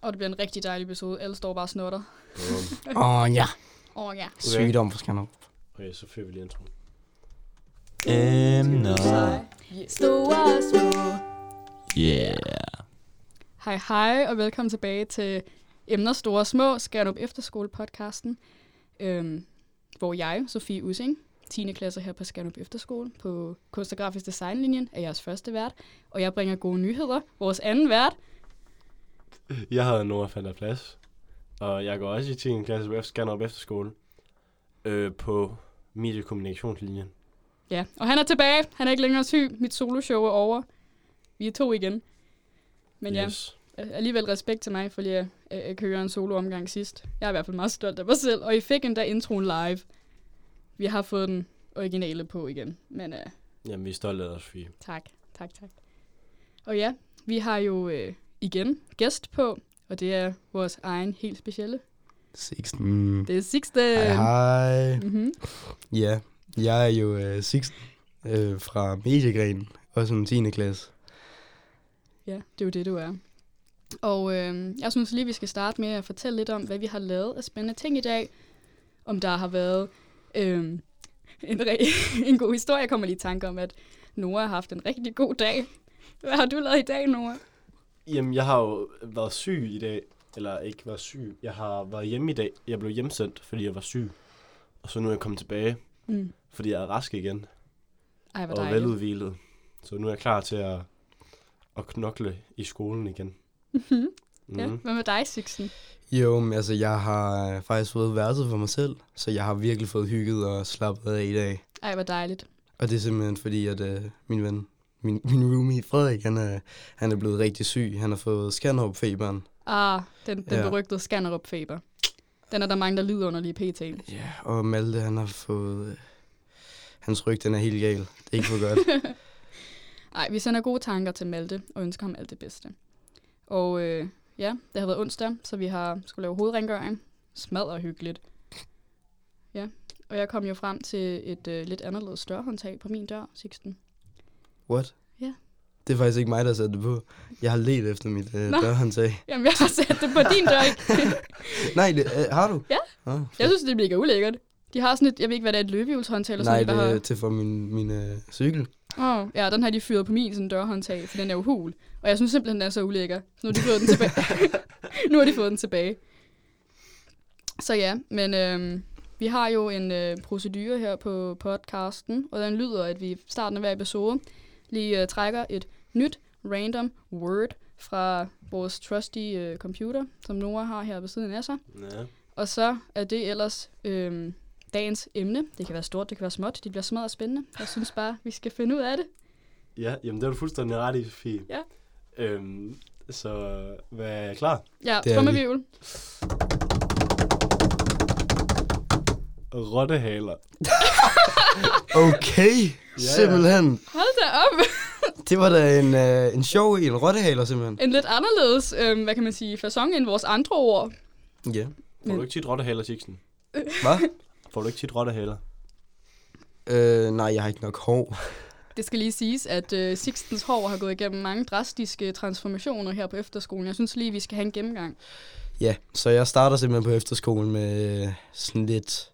Og det bliver en rigtig dejlig episode. Alle står bare og snotter. Bum. Åh oh, ja, Åh oh, ja. sygdom for Skanderup. Okay, så fører vi lige introen. Emner. Store og små. Yeah. Hej hej, og velkommen tilbage til Emner Store og Små, Skærnup Efterskole podcasten, øhm, hvor jeg, Sofie Ussing, 10. klasse her på Skærnup Efterskole på kunst- og grafisk designlinjen, er jeres første vært, og jeg bringer gode nyheder. Vores anden vært, Jeg hedder Nora van der Plads, og jeg går også i 10. klasse på Skanderup Efterskole øh, på mediekommunikationslinjen. ja, og han er tilbage. Han er ikke længere syg. Mit soloshow er over. Vi er to igen. Men ja, Yes. Øh, alligevel respekt til mig, fordi jeg, jeg, jeg kører en soloomgang sidst. Jeg er i hvert fald meget stolt af mig selv, og I fik endda introen live. Vi har fået den originale på igen, men uh, Jamen, vi er stolte af os, fordi tak, tak, tak. Og ja, vi har jo øh, igen gæst på, og det er vores egen helt specielle. Sixten. Mm. Det er Sixten. Hej, hej. Mm-hmm. Ja, jeg er jo øh, Sixten øh, fra Mediegren, også en 10. klasse. Ja, det er jo det, du er. Og øh, jeg synes lige, vi skal starte med at fortælle lidt om, hvad vi har lavet af spændende ting i dag. Om der har været øh, en, re- en god historie. Jeg kommer lige i tanke om, at Nora har haft en rigtig god dag. Hvad har du lavet i dag, Nora? Jamen, jeg har jo været syg i dag. Eller ikke været syg. Jeg har været hjemme i dag. Jeg blev hjemsendt, fordi jeg var syg. Og så nu er jeg kommet tilbage, Mm. fordi jeg er rask igen. Ej, hvor Og dejligt. veludvilet. Så nu er jeg klar til at, at knokle i skolen igen. Mm-hmm. Mhm. Ja. Hvad med dig, Sixten? Jo, men altså, jeg har faktisk fået værelset for mig selv, så jeg har virkelig fået hygget og slappet af i dag. Ej, hvor dejligt. Og det er simpelthen fordi, at øh, min ven, min, min roomie Frederik, han er, han er blevet rigtig syg. Han har fået Skanderup-feberen. Ah, den, den Ja. ja. berygtede Skanderup-feber. Den er der mange, der lider under lige pt. Ja, og Malte, han har fået... Øh, hans ryg, den er helt gal. Det er ikke for godt. Ej, vi sender gode tanker til Malte og ønsker ham alt det bedste. Og øh, ja, det har været onsdag, så vi har skulle lave hovedrengøring. Smadret hyggeligt. Ja, og jeg kom jo frem til et øh, lidt anderledes større håndtag på min dør, Sixten. What? Ja. Det er faktisk ikke mig, der satte det på. Jeg har let efter mit øh, Nå. dørhåndtag. Jamen, jeg har sat det på din dør, ikke? Nej, det, øh, har du? Ja. Oh, Jeg synes, det er mega ulækkert. De har sådan et, jeg ved ikke, hvad det er, et løbehjulshåndtag eller Nej, sådan det noget, er der til for min, min øh, cykel. har... Åh, ja, den har de fyret på min sådan dørhåndtag, for den er jo hul. Og jeg synes simpelthen, den er så ulækker. Så nu har de fået den tilbage. nu har de fået den tilbage. Så ja, men øhm, vi har jo en øh, procedure her på podcasten, og den lyder, at vi i starten af hver episode lige øh, trækker et nyt random word fra vores trusty øh, computer, som Nora har her ved siden af sig. ja. Og så er det ellers øhm, dagens emne. Det kan være stort, det kan være småt, det bliver smadret spændende. Jeg synes bare, vi skal finde ud af det. ja, jamen det er du fuldstændig ret i, Sofie. Ja. Øhm, så hvad er jeg klar? Ja, Det er trommevivl. Rottehaler. Okay, Ja, ja. simpelthen. Hold da op! Det var da en, øh, en sjov en, en rottehaler simpelthen. en lidt anderledes, øhm, hvad kan man sige, fasong end vores andre ord. Ja. Får du ikke tit rottehaler, Sixten? Hvad? Får du ikke tit rottehaler? øh, nej, jeg har ikke nok hår. Det skal lige siges, at øh, Sixtens hår har gået igennem mange drastiske transformationer her på efterskolen. Jeg synes lige, vi skal have en gennemgang. Ja, så jeg starter simpelthen på efterskolen med øh, sådan lidt,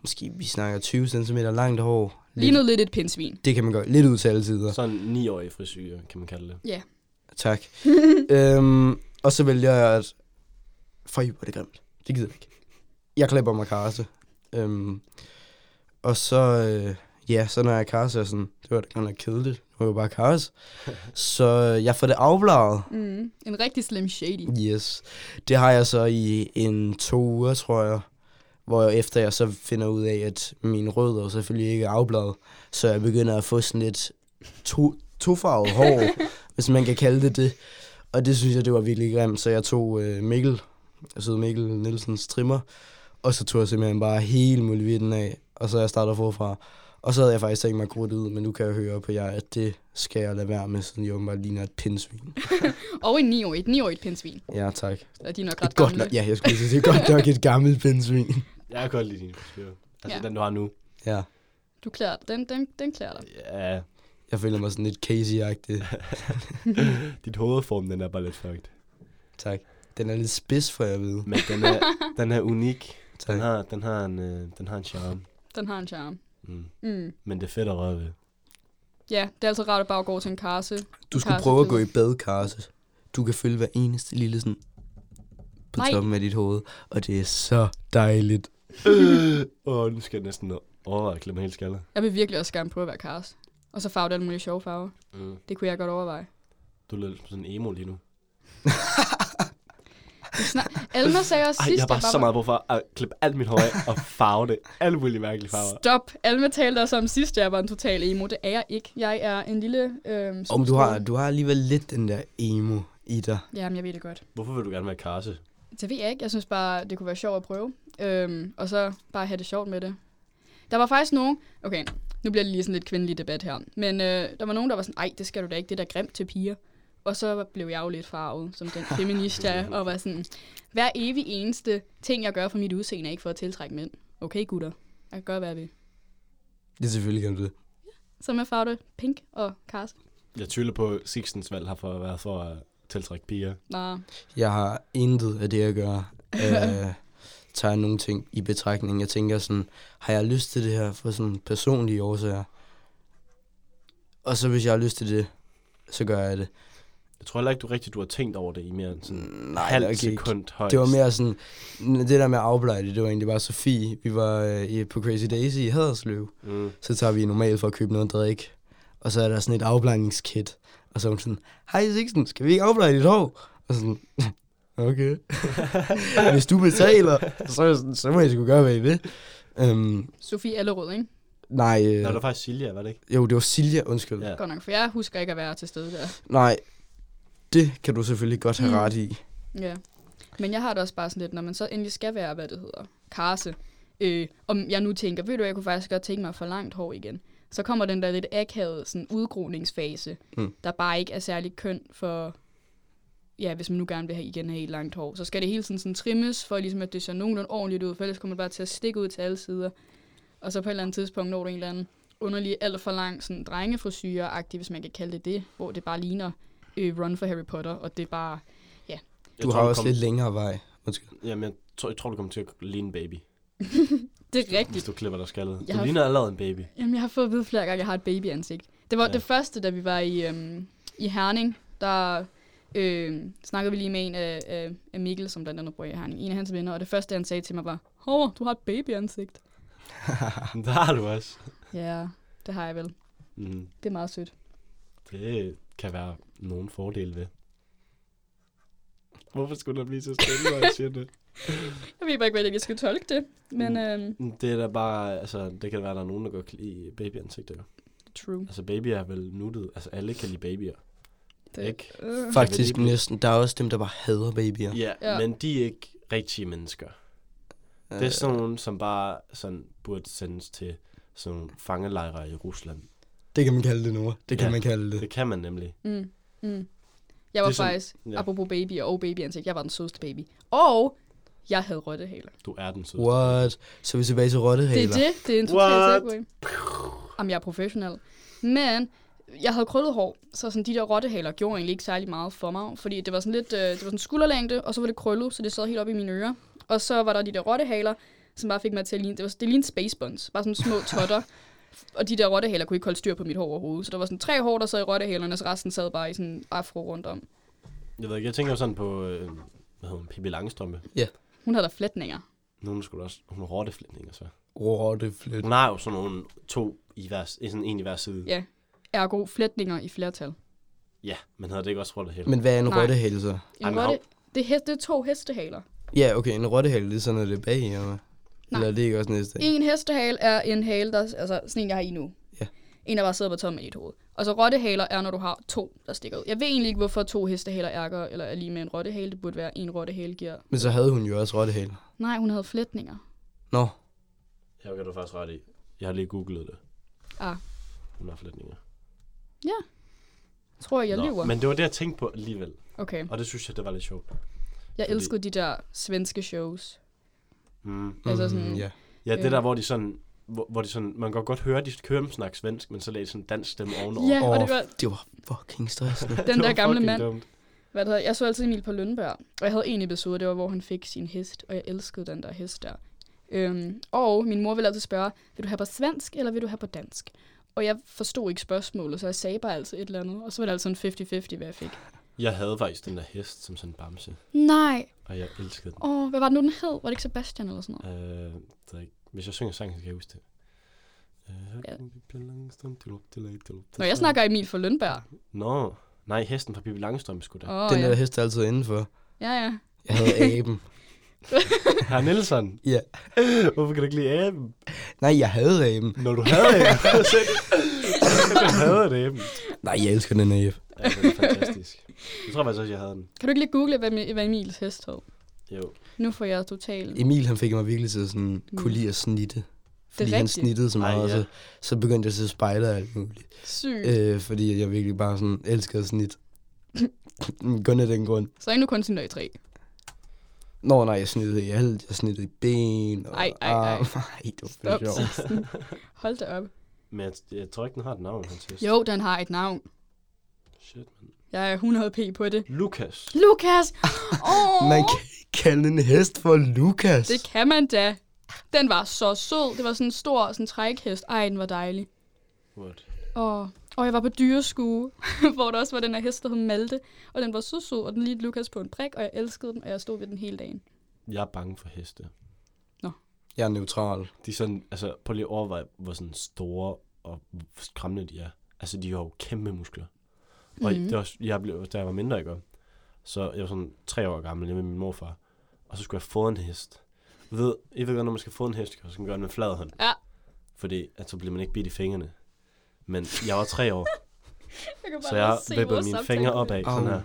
måske vi snakker 20 cm langt hår. Lige noget lidt et pindsvin. Det kan man godt. Lidt ud til alle sider. Sådan en 9-årig frisyr, kan man kalde det. Ja. Tak. øhm, og så vælger jeg at... For I, hvor er det grimt. Det gider jeg ikke. Jeg klipper mig karse. Øhm, og så... Øh, ja, så når jeg karse er sådan... Det var da godt nok kedeligt. Nu er jeg bare karse. så øh, jeg får det afbladet. Mm. En rigtig slim shady. Yes. Det har jeg så i en to uger, tror jeg. Hvor jeg, efter jeg så finder ud af, at mine rødder selvfølgelig ikke er afbladet. Så jeg begynder at få sådan lidt to, tofarvet hår, hvis man kan kalde det det. Og det synes jeg, det var virkelig grimt. Så jeg tog øh, Mikkel, altså Mikkel Nielsens trimmer, og så tog jeg simpelthen bare hele muligheden af. Og så jeg starter forfra. Og så havde jeg faktisk tænkt mig at gro det ud, men nu kan jeg høre på jer, at det skal jeg lade være med, siden jeg åbenbart ligner et pindsvin. Og en 9-årig, et 9-årigt pindsvin. Ja, tak. Så de er nok Et ret godt gamle. nok, ja, jeg skulle sige, det er godt nok et gammelt pindsvin. Jeg kan godt lide din frisyr. Altså Ja. ja. den, du har nu. Ja, Du klæder den, den, den klæder dig. Ja, jeg føler mig sådan lidt Casey-agtig. dit hovedform, den er bare lidt fucked. Tak. Den er lidt spids, for jeg ved. Men den er, den er unik. Den Tak. har, den har, en, øh, den har en charme. Den har en charme. Mm. Mm. Men det er fedt at røre ved. Ja, det er altid rart at bare gå til en karse. Du skulle Karse prøve at fed. gå i bad, Karse. Du kan følge hver eneste lille sådan på Nej. toppen af dit hoved, og det er så dejligt. Åh, nu skal jeg næsten overveje at klemme helt skaller. Jeg vil virkelig også gerne prøve at være karse. Og så farve alle mulige sjove farver. Mm. Det kunne jeg godt overveje. Du lyder lidt som sådan en emo lige nu. Snak. Alma sagde også Ej, sidst, jeg har bare jeg så var- meget brug for at klippe alt mit hår af og farve det. Alle mulige mærkelige farver. Stop. Alma talte også om sidst, jeg var en total emo. Det er jeg ikke. Jeg er en lille... Øhm, Om du har, du har alligevel lidt den der emo i dig. Jamen, jeg ved det godt. Hvorfor vil du gerne være karse? Det ved jeg ikke. Jeg synes bare, det kunne være sjovt at prøve. Øhm, og så bare have det sjovt med det. Der var faktisk nogen... Okay, nu bliver det lige sådan lidt kvindelig debat her. Men øh, der var nogen, der var sådan, ej, det skal du da ikke. Det er da grimt til piger. Og så blev jeg jo lidt farvet som den feminist, jeg er, og var sådan, hver evig eneste ting, jeg gør for mit udseende, er ikke for at tiltrække mænd. Okay, gutter. Jeg kan gøre, hvad jeg vil. Det er selvfølgelig kan du det. Så med farvet pink og kars. Jeg tvivler på, at Sixtens valg har for været for at tiltrække piger. Nej, Jeg har intet af det at gøre. Øh, tager nogle ting i betragtning. Jeg tænker sådan, har jeg lyst til det her for sådan personlige årsager? Og så hvis jeg har lyst til det, så gør jeg det. Jeg tror heller ikke, du rigtig du har tænkt over det i mere end sådan Nej, halv nok ikke. sekund højst. Det var mere sådan, det der med at afbleje det, det var egentlig bare Sofie. Vi var øh, i- på Crazy Daisy i Haderslev. Mm. Så tager vi normalt for at købe noget drik. Og så er der sådan et afblejningskit. Og så er hun sådan, hej Sixten, skal vi ikke afbleje dit hår? Og sådan, okay. Hvis du betaler, så, er jeg sådan, så må I sgu gøre, hvad I vil. Øhm, Sofie Allerød, ikke? nej, øh, Nå, det var faktisk Silja, var det ikke? jo, det var Silja, undskyld. Ja. Ja. Godt nok, for jeg husker ikke at være til stede der. Nej, det kan du selvfølgelig godt have Mm. ret i. Ja. Men jeg har det også bare sådan lidt, når man så endelig skal være, hvad det hedder, karse. Øh, om jeg nu tænker, ved du, jeg kunne faktisk godt tænke mig for langt hår igen. Så kommer den der lidt akavede sådan udgroningsfase, Mm. mm. der bare ikke er særlig køn for... Ja, hvis man nu gerne vil have igen have et langt hår, så skal det hele tiden sådan trimmes, for ligesom at det ser nogenlunde ordentligt ud, for ellers kommer det bare til at stikke ud til alle sider. Og så på et eller andet tidspunkt når du en eller anden underlig, alt for lang sådan drengefrisyre-agtig, hvis man kan kalde det det, hvor det bare ligner øh, Run for Harry Potter, og det er bare Jeg Du tror, har også kom... lidt længere vej. Undskyld. Jamen, jeg tror, jeg tror, du kommer til at ligne en baby, Det er rigtigt. hvis du klipper dig skaldet. Jeg Du har- ligner allerede en baby. Jamen, jeg har fået at vide flere gange, at jeg har et babyansigt. Det var Ja. ja. det første, da vi var i, øhm, i Herning, der øhm, snakkede vi lige med en af, af, af Mikkel, som blandt andet bor i Herning, en af hans venner, og det første, han sagde til mig var, Hov, du har et babyansigt. Men der har du også. Ja, det har jeg vel. Mm. Det er meget sødt. Det kan være nogen fordele ved. Hvorfor skulle der blive så spændende, når jeg siger det? Jeg ved bare ikke, hvordan jeg skal tolke det, men Mm. øhm, Det er da bare, altså, det kan være, at der er nogen, der godt kan lide babyansigter. jo. true. Altså, babyer er vel nuttet. Altså, alle kan lide babyer. Det, Ikke? Øh, Faktisk vil lige- næsten. Der er også dem, der bare hader babyer. Ja, ja. Ja. men de er ikke rigtige mennesker. Det er sådan nogen, som bare sådan burde sendes til sådan nogle fangelejre i Rusland. Det kan man kalde det nu. Det kan Ja. man kalde det. Det kan man nemlig. mm, mm. Jeg var Det er sådan- faktisk, ja. ja. apropos baby og babyansigt, jeg var den sødeste baby. Og jeg havde rottehaler. Du er den sødeste. What? Så er vi tilbage til Det rottehaler. er det. Det er en What? total segway. Jamen, jeg er professionel. Men jeg havde krøllet hår, så sådan de der rottehaler gjorde egentlig ikke særlig meget for mig, fordi det var sådan lidt, øh, det var sådan skulderlængde, og så var det krøllet, så det sad helt op i mine ører. Og så var der de der rottehaler, som bare fik mig til at ligne, det var det lignede space buns, bare sådan små totter. og de der rottehaler kunne ikke holde styr på mit hår overhovedet, så der var sådan tre hår, der sad i rottehalerne, og så resten sad bare i sådan afro rundt om. Jeg ved ikke, jeg tænker sådan på, øh, hvad hedder hun, Pippi Langstrømpe. Hun havde da flætninger. Hun skulle også, hun har rotteflætninger, så. Rotteflet. Hun har jo sådan nogle to i hver, i sådan en i hver side. Ja. Ergo flætninger i flertal. Ja, men havde det ikke også rolle helt? Men hvad er en Nej. rottehale så? Ej, En men rotte, det, er, hest- det er to hestehaler. Ja, okay, en rottehale, det er sådan noget, det er bag, eller Nej. Eller er det ikke også næste dag? En hestehale er en hale, der, altså sådan en, jeg har i nu. Ja. En, der bare sidder på toppen af dit hoved. Og så rottehaler er, når du har to, der stikker ud. Jeg ved egentlig ikke, hvorfor to hestehaler ærker, eller er lige med en rottehale. Det burde være en rottehale giver. Men så havde hun jo også rottehale. Nej, hun havde flætninger. Nå, Jeg kan du faktisk ret i. Jeg har lige googlet det. Ah. Hun har flætninger. Jeg tror, jeg lyver. men det var det, jeg tænkte på alligevel. Okay, Og det synes jeg, det var lidt sjovt. jeg fordi- elskede de der svenske shows. Mm. Altså sådan- ja. Ja, det Øh. der, hvor de sådan... Hvor, hvor de sådan, man kan godt høre, de kører dem snakke svensk, men så lagde de sådan en dansk stemme ovenover. Ja, og det Åh, var Det var fucking stressende. den Det der var gamle fucking mand. Dumt. Hvad det hedder, jeg så altid Emil på Lønberg, og jeg havde en episode, det var, hvor han fik sin hest, og jeg elskede den der hest der. Øhm, og min mor ville altid spørge, vil du have på svensk, eller vil du have på dansk? Og jeg forstod ikke spørgsmålet, så jeg sagde bare altid et eller andet, og så var det altså en 50-50, hvad jeg fik. Jeg havde faktisk den der hest som sådan en bamse, Nej, og jeg elskede den. åh, hvad var det nu, den hed? Var det ikke Sebastian eller sådan noget? Øh, det er ikke- hvis jeg synger sangen, kan jeg huske det. Øh, Ja. Pippi Langstrømpe, dilup, dilup, dilup. Nå, jeg snakker Emil for Lønberg. Nå, nej, hesten fra Pippi Langstrømpe skulle da. Åh, Den ja. der hest er altid indenfor. ja, ja. Jeg havde aben. Herre Nielsen, Ja. hvorfor kan du ikke lide aben? Nej, jeg havde aben. Når du havde aben, så du havde det aben. Nej, jeg elsker den abe. Ja, det er fantastisk. Jeg tror faktisk også, jeg havde den. Kan du ikke lige google, hvad, Mi- hvad Emils hest hed? Jo. Nu får jeg totalt... Emil, han fik mig virkelig til at sådan, kunne lide at snitte. Fordi han Mm. rigtigt. snittede så meget, Ej, Ej, ja. ja. og så, så begyndte jeg at se spejder og alt muligt. Sygt. Øh, fordi jeg virkelig bare sådan elskede snit. Kun af den grund. Så er I nu kun sin i tre. Nå nej, jeg snittede i alt. Jeg snittede i ben. Og, Ej, ej, ej. arm. Ej, det var Stop, for sjovt. Sixten. Hold da op. Men jeg, jeg tror ikke, den har et navn, hans hest. Jo, den har et navn. Shit, man. Jeg er 100p på det. Lukas. Lukas! Oh, Man kan ikke kalde en hest for Lukas. Det kan man da. Den var så sød. Det var sådan en stor sådan trækhest. Ej, den var dejlig. What? Og, og jeg var på dyreskue, hvor der også var den her hest, der hed Malte. Og den var så sød, og den lignede Lukas på en prik, og jeg elskede den, og jeg stod ved den hele dagen. Jeg er bange for heste. Jeg er neutral. De er sådan, altså, prøv lige at overveje, hvor sådan store og skræmmende de er. Altså, de har jo kæmpe muskler. Og mm. Mhm. det var, også- jeg blev, da jeg var mindre, ikke? Så jeg var sådan tre år gammel, hjemme med min morfar. Og så skulle jeg få en hest. Du ved, I ved godt, når man skal få en hest, så skal man gøre det med flad hånd. Ja. Fordi, at så bliver man ikke bidt i fingrene. Men jeg var tre år, Jeg kan så jeg vippede mine fingre opad, sådan Au. her.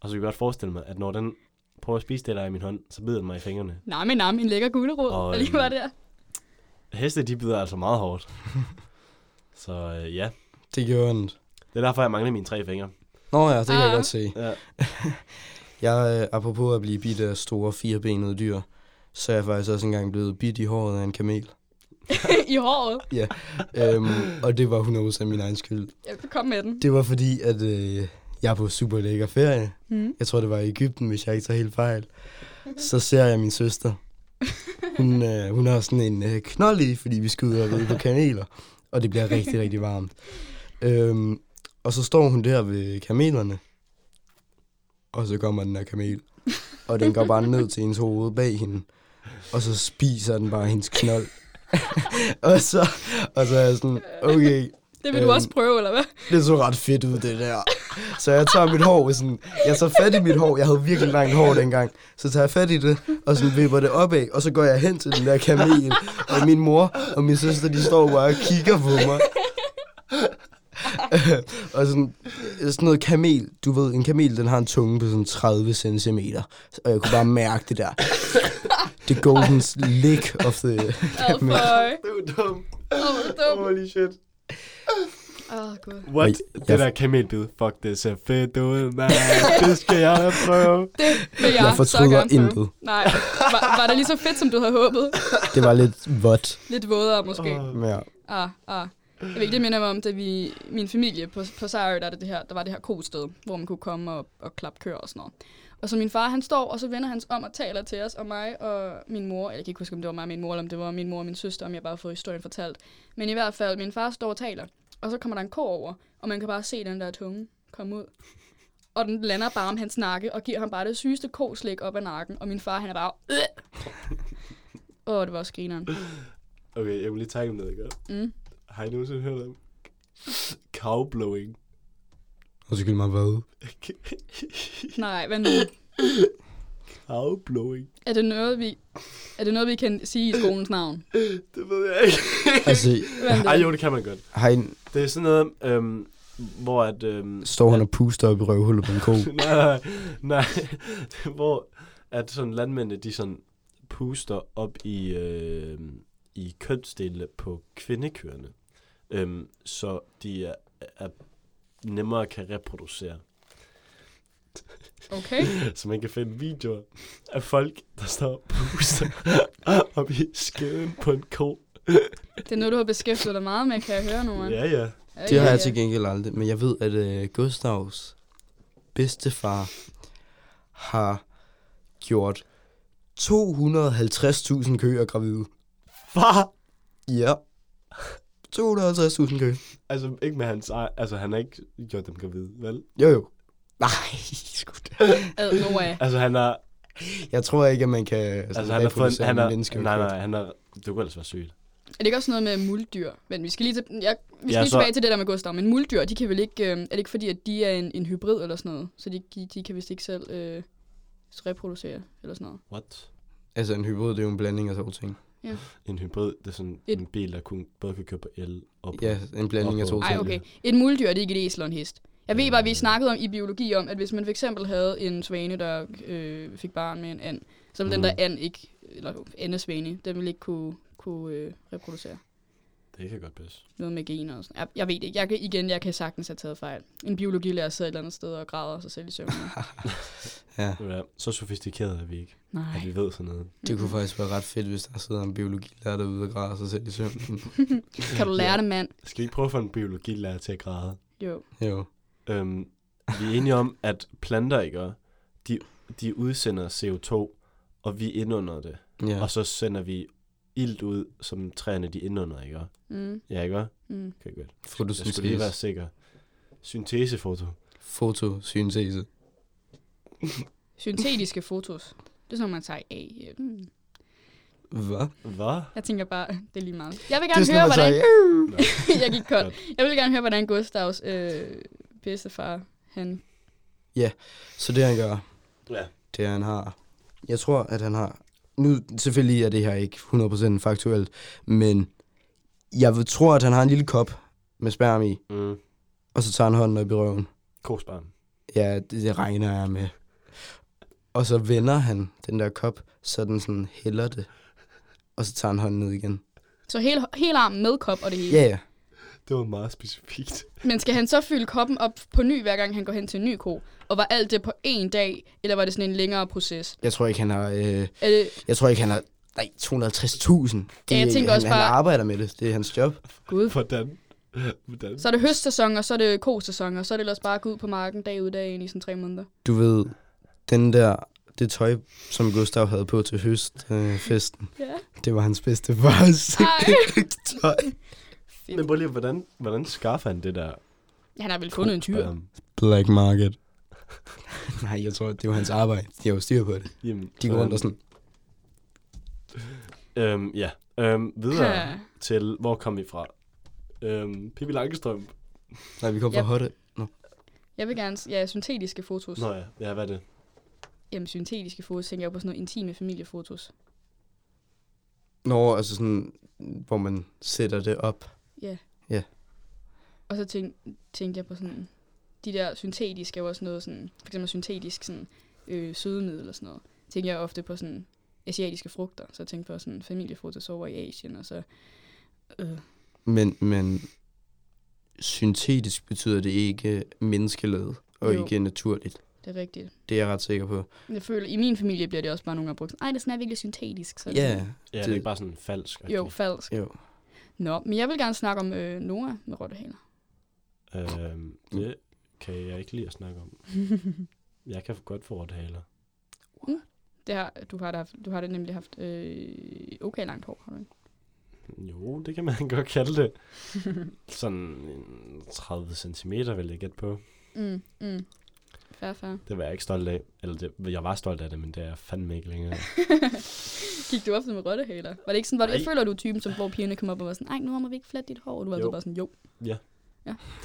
Og så kan jeg godt forestille mig, at når den prøver at spise det, der er i min hånd, så bider den mig i fingrene. Nej, men nej, en lækker gulerod, Og, der lige øhm, var der. Heste, de bider altså meget hårdt. så øh, ja, Det gjorde ondt. det er derfor, jeg mangler mine tre fingre. Nå ja, det kan jeg Ah. godt se. Ja. Jeg, øh, apropos at blive bidt af store firebenede dyr, så er jeg faktisk også engang blevet bidt i håret af en kamel. I håret. øhm, og det var 100% min egen skyld. Jeg kan komme med den. Det var fordi, at øh, jeg er på super lækker ferie. Mm. Jeg tror, det var i Ægypten, hvis jeg ikke tager helt fejl. Så ser jeg min søster. Hun, øh, hun har sådan en øh, knold i, fordi vi skal ud og ride på kameler. Og det bliver rigtig, rigtig varmt. Øhm, og så står hun der ved kamelerne. Og så kommer den her kamel. Og den går bare ned til hendes hoved bag hende. Og så spiser den bare hendes knold. og, så, og så er jeg sådan, okay, Det vil du Øhm, også prøve, eller hvad? det så ret fedt ud, det der. Så jeg tager mit hår, sådan, jeg tager fat i mit hår, jeg havde virkelig langt hår dengang, så tager jeg fat i det, og så vipper det opad, og så går jeg hen til den der kamel, og min mor og min søster, de står bare og kigger på mig. Øh, og sådan, sådan noget kamel, du ved, en kamel, den har en tunge på sådan 30 cm, og jeg kunne bare mærke det der. The golden lick of the... Åh, men- føj. Det er jo dumt. Åh, hvor dumt. Holy shit. Åh, gud. What? Ej, Det jeg- der kamelbid. Fuck, det ser fedt ud, man. det skal jeg da prøve. Det vil jeg, Jeg så fortryder gerne prøve. intet. Nej, var, var det lige så fedt, som du havde håbet? Det var lidt vådt. Lidt vådere måske. Åh. Ja. Ah, ah. Jeg ved ikke, det minder mig om, da vi, min familie på, på Sejrø, der, er det det her, der var det her kosted, hvor man kunne komme og, og klappe køer og sådan noget. Og så min far, han står, og så vender han sig om og taler til os, og mig og min mor, jeg kan ikke huske, om det var mig og min mor, eller om det var min mor og min søster, om jeg bare har fået historien fortalt. Men i hvert fald, min far står og taler, og så kommer der en ko over, og man kan bare se den der tunge komme ud. Og den lander bare om hans nakke, og giver ham bare det sygeste koslik op ad nakken, og min far, han er bare... Øh! Åh, det var også grineren. Okay, jeg vil lige tage noget, ikke? Mm. Har I nogensinde hørt om cowblowing? Undskyld mig, hvad? Nej, hvad nu? cowblowing? Er det noget, vi, er det noget, vi kan sige i skolens navn? Det ved jeg ikke. Altså, Hvad Ej, er det? jo, det kan man godt. har I, Det er sådan noget, øhm, hvor at... Øhm, står han og puster op i røvhullet på en ko. nej, nej, nej. hvor at sådan landmændene, de sådan puster op i, øh, i kønsdelene på kvindekøerne, øhm, så de er, er nemmere kan reproducere. Okay. Så man kan finde videoer af folk, der står og puster op i skeden på en ko. Det er noget, du har beskæftiget dig meget Mm. med, kan jeg høre nu. mand. Ja, ja. Ja, Det har ja, jeg ja. til gengæld aldrig, men jeg ved, at øh, Gustavs bedstefar har gjort 250.000 køer gravide. Far! Ja. 250.000 køer. Altså, ikke med hans ej- Altså, han har ikke gjort dem gravide, vel? Jo jo. Nej, sgu da. Ad Noah. Altså, han har... Jeg tror ikke, at man kan altså, Altså, han har fået... reproducere Han med har, mennesker. nej, nej, han har... Det kunne ellers være sygt. Er det ikke også noget med muldyr? Men vi skal lige, til, jeg, vi skal Ja, lige så- tilbage til det der med Gustav. Men muldyr, de kan vel ikke... Øh, er det ikke fordi, at de er en, en hybrid eller sådan noget? Så de, de, de kan vist ikke selv øh, reproducere eller sådan noget. What? Altså en hybrid, det er jo en blanding af to ting. En hybrid, det er sådan Et- en bil, der kun, både kan køre på el og på... Ja, en blanding af to Hvorfor? Nej, ting. okay. Et muldyr, det er ikke et æsel og en hest. Jeg ved bare, at vi snakkede om i biologi om, at hvis man fx havde en svane, der øh, fik barn med en and, så ville mm. den Mhm. der and ikke, eller andesvane, den ville ikke kunne, kunne øh, reproducere. Det kan godt passe. Noget med gener og sådan. Jeg, jeg ved det ikke. Jeg, kan- igen, jeg kan sagtens have taget fejl. En biologilærer sidder et eller andet sted og græder sig selv i søvn. Ja, Ja, så sofistikeret er vi ikke, Nej. at vi ved sådan noget. det kunne faktisk være ret fedt, hvis der sidder en biologilærer derude og græder sig selv i søvnen. Kan du lære det, mand? Skal vi ikke prøve at få en biologilærer til at græde? Jo. Jo. Øhm, vi er enige om, at planter, ikke? De, de udsender CO2, og vi indunder det. Ja. Ja. Og så sender vi ilt ud, som træerne de indunder, ikke? Mm, Ja, ikke? mm. Okay, godt. Jeg skulle lige være Fotosyntese. sikker. Syntesefoto. Fotosyntese. Syntetiske fotos. Det er sådan, man tager af. Mm. Hvad? Hvad? Jeg tænker bare, det er lige meget. Jeg vil Det er gerne sådan, høre, man hvordan... tager "Øh." jeg gik kold. Jeg vil gerne høre, hvordan Gustavs øh, bedstefar, han... Så det han gør, Ja. det er, han har... Jeg tror, at han har... Nu selvfølgelig er det her ikke 100% faktuelt, men jeg vil- tror, at han har en lille kop med sperm i, Mm. og så tager han hånden op i røven. Kosbarn. Ja, det, det regner jeg med. Og så vender han den der kop, så den sådan hælder det. Og så tager han hånden ned igen. Så hele, hele armen med kop og det hele. Ja, ja. Det var meget specifikt. Men skal han så fylde koppen op på ny, hver gang han går hen til en ny ko? Og var alt det på én dag, eller var det sådan en længere proces? Jeg tror ikke, han har... Øh, Er det, jeg tror ikke, han har... Nej, 250.000. Det, Ja, jeg er- tænker han, også han bare- arbejder med det. Det er hans job. gud. Hvordan? Hvordan? Så er det høstsæson, og så er det kosæson, og så er det ellers bare at gå ud på marken dag ud dag ind i sådan tre måneder. Du ved, den der... Det tøj, som Gustav havde på til høstfesten, øh, festen, Ja. det var hans bedste fars Ej. tøj. Men prøv lige, hvordan, hvordan skaffer han det der? Øhm, Han har vel fundet en tyr. Kosbarn? Black market. Nej, jeg tror, det var hans arbejde. De har jo styr på det. Jamen, De går rundt og sådan. sådan... Øhm, ja. Øhm, videre Ja. til, hvor kom vi fra? Øhm, Pippi Langstrøm. Nej, vi kom fra Ja. hotte. Jeg vil gerne... s- Ja, syntetiske fotos. Nå ja, ja, hvad er det? Jamen, syntetiske fotos tænker jeg på sådan noget intime familiefotos. Nå, altså sådan, hvor man sætter det op. Og så tænk, tænkte jeg på sådan, de der syntetiske er jo også noget sådan, for eksempel syntetisk sådan, øh, sødemiddel og sådan noget. Tænker jeg ofte på sådan asiatiske frugter, så jeg tænkte på sådan familiefotos over i Asien, og så øh, Men, men syntetisk betyder det ikke menneskelavet, og Jo. jo. ikke naturligt. det er rigtigt. Det er jeg ret sikker på. Jeg føler, i min familie bliver det også bare nogle gange brugt sådan, ej, det er sådan er virkelig syntetisk. Så er det Ja, sådan, Ja, det, det er Det- ikke bare sådan falsk. okay? Jo, falsk. jo. Nå, men jeg vil gerne snakke om øh, Nora med rottehaler. Øhm, det kan jeg ikke lide at snakke om. Jeg kan godt få rottehaler. Mm. Det har, du, har da, haft- du har da nemlig haft øh, okay langt hår, har du ikke? Jo, det kan man godt kalde det. Sådan en 30 cm vil jeg gætte på. Mm, mm. Fair, fair. Det var jeg ikke stolt af. Eller det, jeg var stolt af det, men det er jeg fandme ikke længere. Gik du ofte med rottehaler? Var det ikke sådan, var det, jeg Nej. føler, du er typen, som, hvor pigerne kom op og var sådan, nej, nu må vi ikke flatte dit hår, og du var altid Jo. bare sådan, jo.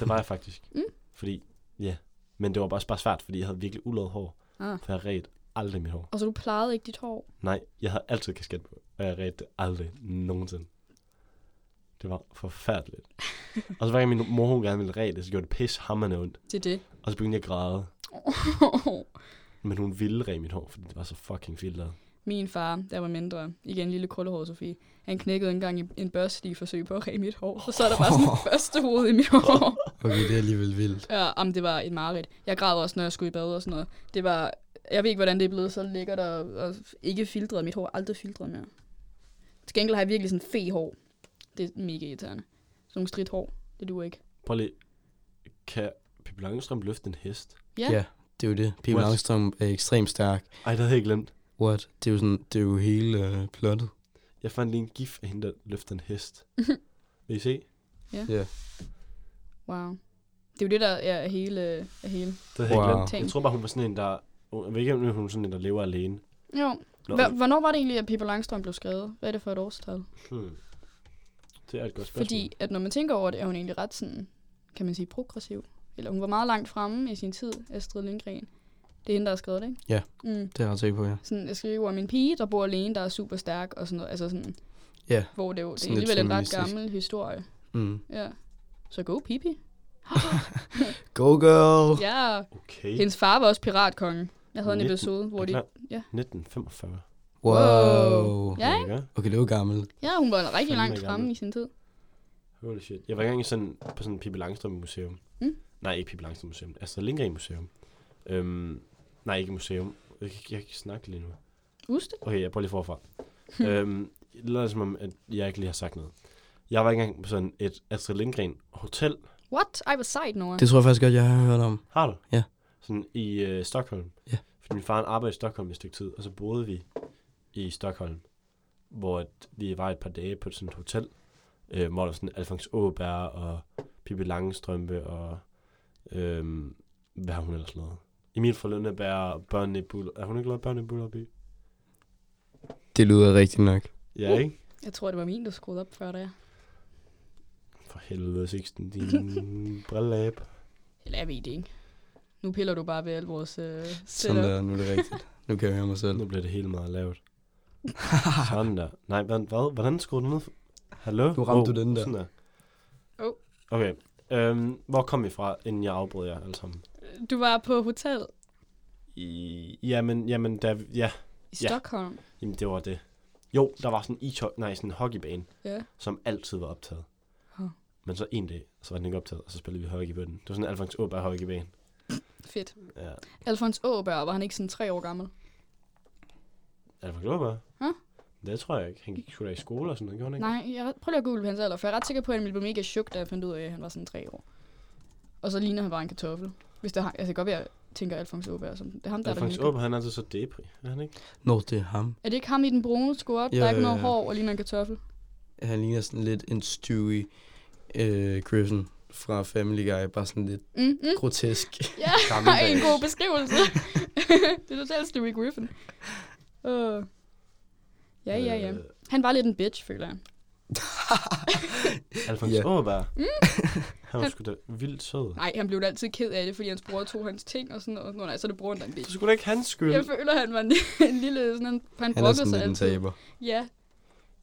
Det var jeg faktisk. Mm. Fordi, ja. Men det var også bare svært, fordi jeg havde virkelig ulået hår. Ah. For jeg red aldrig mit hår. Og så du plejede ikke dit hår. Nej, jeg havde altid kasket på. Og jeg red det aldrig nogensinde. Det var forfærdeligt. og så hver gang min mor hun gerne ville ræde det, så gjorde det pis hammerne ondt. Det er det. Og så begyndte jeg at græde. Men hun ville ræde mit hår, fordi det var så fucking filtret. Min far, der var mindre, igen lille krøllehåret Sofie, han knækkede engang i en børste i forsøg på at ræge mit hår. Og så er der bare sådan et børstehoved i mit hår. Okay, det er alligevel vildt. Ja, om det var et mareridt. Jeg græd også, når jeg skulle i bad og sådan noget. Det var, jeg ved ikke, hvordan det er blevet så lækkert og, og ikke filtret. Mit hår er aldrig filtret mere. Til gengæld har jeg virkelig sådan fehår. Det er mega irriterende. Sådan nogle stridt hår. Det duer ikke. Prøv lige. Kan Pippi Langstrøm løfte en hest? Ja. Ja, Det er jo det. Pippi What? Langstrøm er ekstremt stærk. Ej, det havde jeg glemt. What? Det er jo, sådan, det er jo hele øh, plottet. Jeg fandt lige en gif af hende, der løfter en hest. Vil I se? Wow. Det er jo det, der er hele... Er hele. Det havde wow. jeg Wow. glemt. Jeg tror bare, hun var sådan en, der... Jeg ved ikke, om hun er sådan en, der lever alene. Jo. Nå, Hva- Hvornår var det egentlig, at Pippi Langstrøm blev skrevet? Hvad er det for et årstal? hmm. Det er et godt spørgsmål. Fordi at når man tænker over det, er hun egentlig ret sådan, kan man sige, progressiv. Eller hun var meget langt fremme i sin tid, Astrid Lindgren. Det er hende, der har skrevet det, ikke? Ja. Mm. Det har jeg tænkt på, ja. Sådan, jeg skriver om en pige, der bor alene, der er super stærk og sådan noget. Altså sådan, Ja. hvor det jo det er Sådan lidt alligevel en ret feministisk. gammel historie. Mm. Ja. Så go Pippi. Go girl! Ja. Okay. Hendes far var også piratkongen. Jeg havde en 19. episode, hvor Er de... klar? ja. 1945. Wow. Ja, ikke? Okay, det er jo gammel. Ja, hun var rigtig Fandme langt gammel. fremme i sin tid. Holy shit. Jeg var engang i sådan, på sådan et Pippi Langstrøm museum. Mm. Nej, ikke Pippi Langstrøm museum. Astrid Lindgren museum. Øhm, nej, ikke museum. Jeg kan, ikke- jeg kan ikke snakke lige nu. Uste? Okay, jeg prøver lige forfra. øhm, det lader som om, at jeg ikke lige har sagt noget. Jeg var engang på sådan et Astrid Lindgren hotel. What? Ej, hvor sejt, Nora. Det tror jeg faktisk godt, jeg har hørt om. Har du? Ja. Sådan i øh, Stockholm. Ja. Fordi min far han arbejdede i Stockholm et stykke tid, og så boede vi i Stockholm, hvor at vi var et par dage på sådan et hotel, øh, hvor der var sådan Alfons Åberg og Pippi Langstrømpe og øh, hvad har hun ellers lavet? Emil fra Lønneberg og Børnene i Buller. Er hun ikke lavet Børnene i Bullerby? Det lyder rigtigt nok. Ja, ikke? Jeg tror, det var min, der skruede op før det. For helvede, Sixten, din brillab. Eller jeg ved det ikke. Nu piller du bare ved alt vores øh, Sådan setup. der, nu er det rigtigt. Nu kan jeg høre mig selv. Nu bliver det helt meget lavt. sådan der. Nej, hvad, hvad, hvordan skruer du ned? Hallo? Nu ramte du den der. Sådan der. Oh. Okay. Øhm, hvor kom I fra, inden jeg afbrød jer alle sammen? Du var på hotel I... Jamen, jamen, der, ja, i Ja. Stockholm. jamen, det var det. Jo, der var sådan en isho- nej, sådan en hockeybane, Ja. som altid var optaget. Huh. Men så en dag, så var den ikke optaget, og så spillede vi hockey på den. Det var sådan en Alfons Åberg hockeybane. Fedt. Ja. Alfons Åberg, var han ikke sådan tre år gammel? Alfons Åberg? Huh? Det tror jeg ikke. Han gik sgu da i skole og sådan noget, gjorde han ikke? Nej, jeg, prøv lige at google hans alder, for jeg er ret sikker på, at han ville blive mega chok, da jeg fandt ud af, at han var sådan tre år. Og så ligner han bare en kartoffel. Hvis det har, altså det kan godt være, at jeg tænker Alfons Åberg som det er ham, der Alfons er der Åberg, han er altid så depri, er han ikke? Nå, det er ham. Er det ikke ham i den brune skort, Jo, der er ikke jo, noget jo. hår og ligner en kartoffel? Han ligner sådan lidt en Stewie øh, Griffin fra Family Guy. Bare sådan lidt Mm, mm. grotesk. Ja, Gammeldags. en god beskrivelse. det er totalt Stewie Griffin. Uh. Ja, ja, ja. Øh, Han var lidt en bitch, føler jeg. Alfons Ja. yeah. Åberg. Mm. Han var sgu da vildt sød. Nej, han blev da altid ked af det, fordi hans bror tog hans ting og sådan noget. Nå, nej, så er det broren, der er en Det bitch. skulle da ikke hans skyld. Jeg føler, han var en, en lille... Sådan, han, han, Han er brokkede sådan sig lidt en altid. taber. Ja,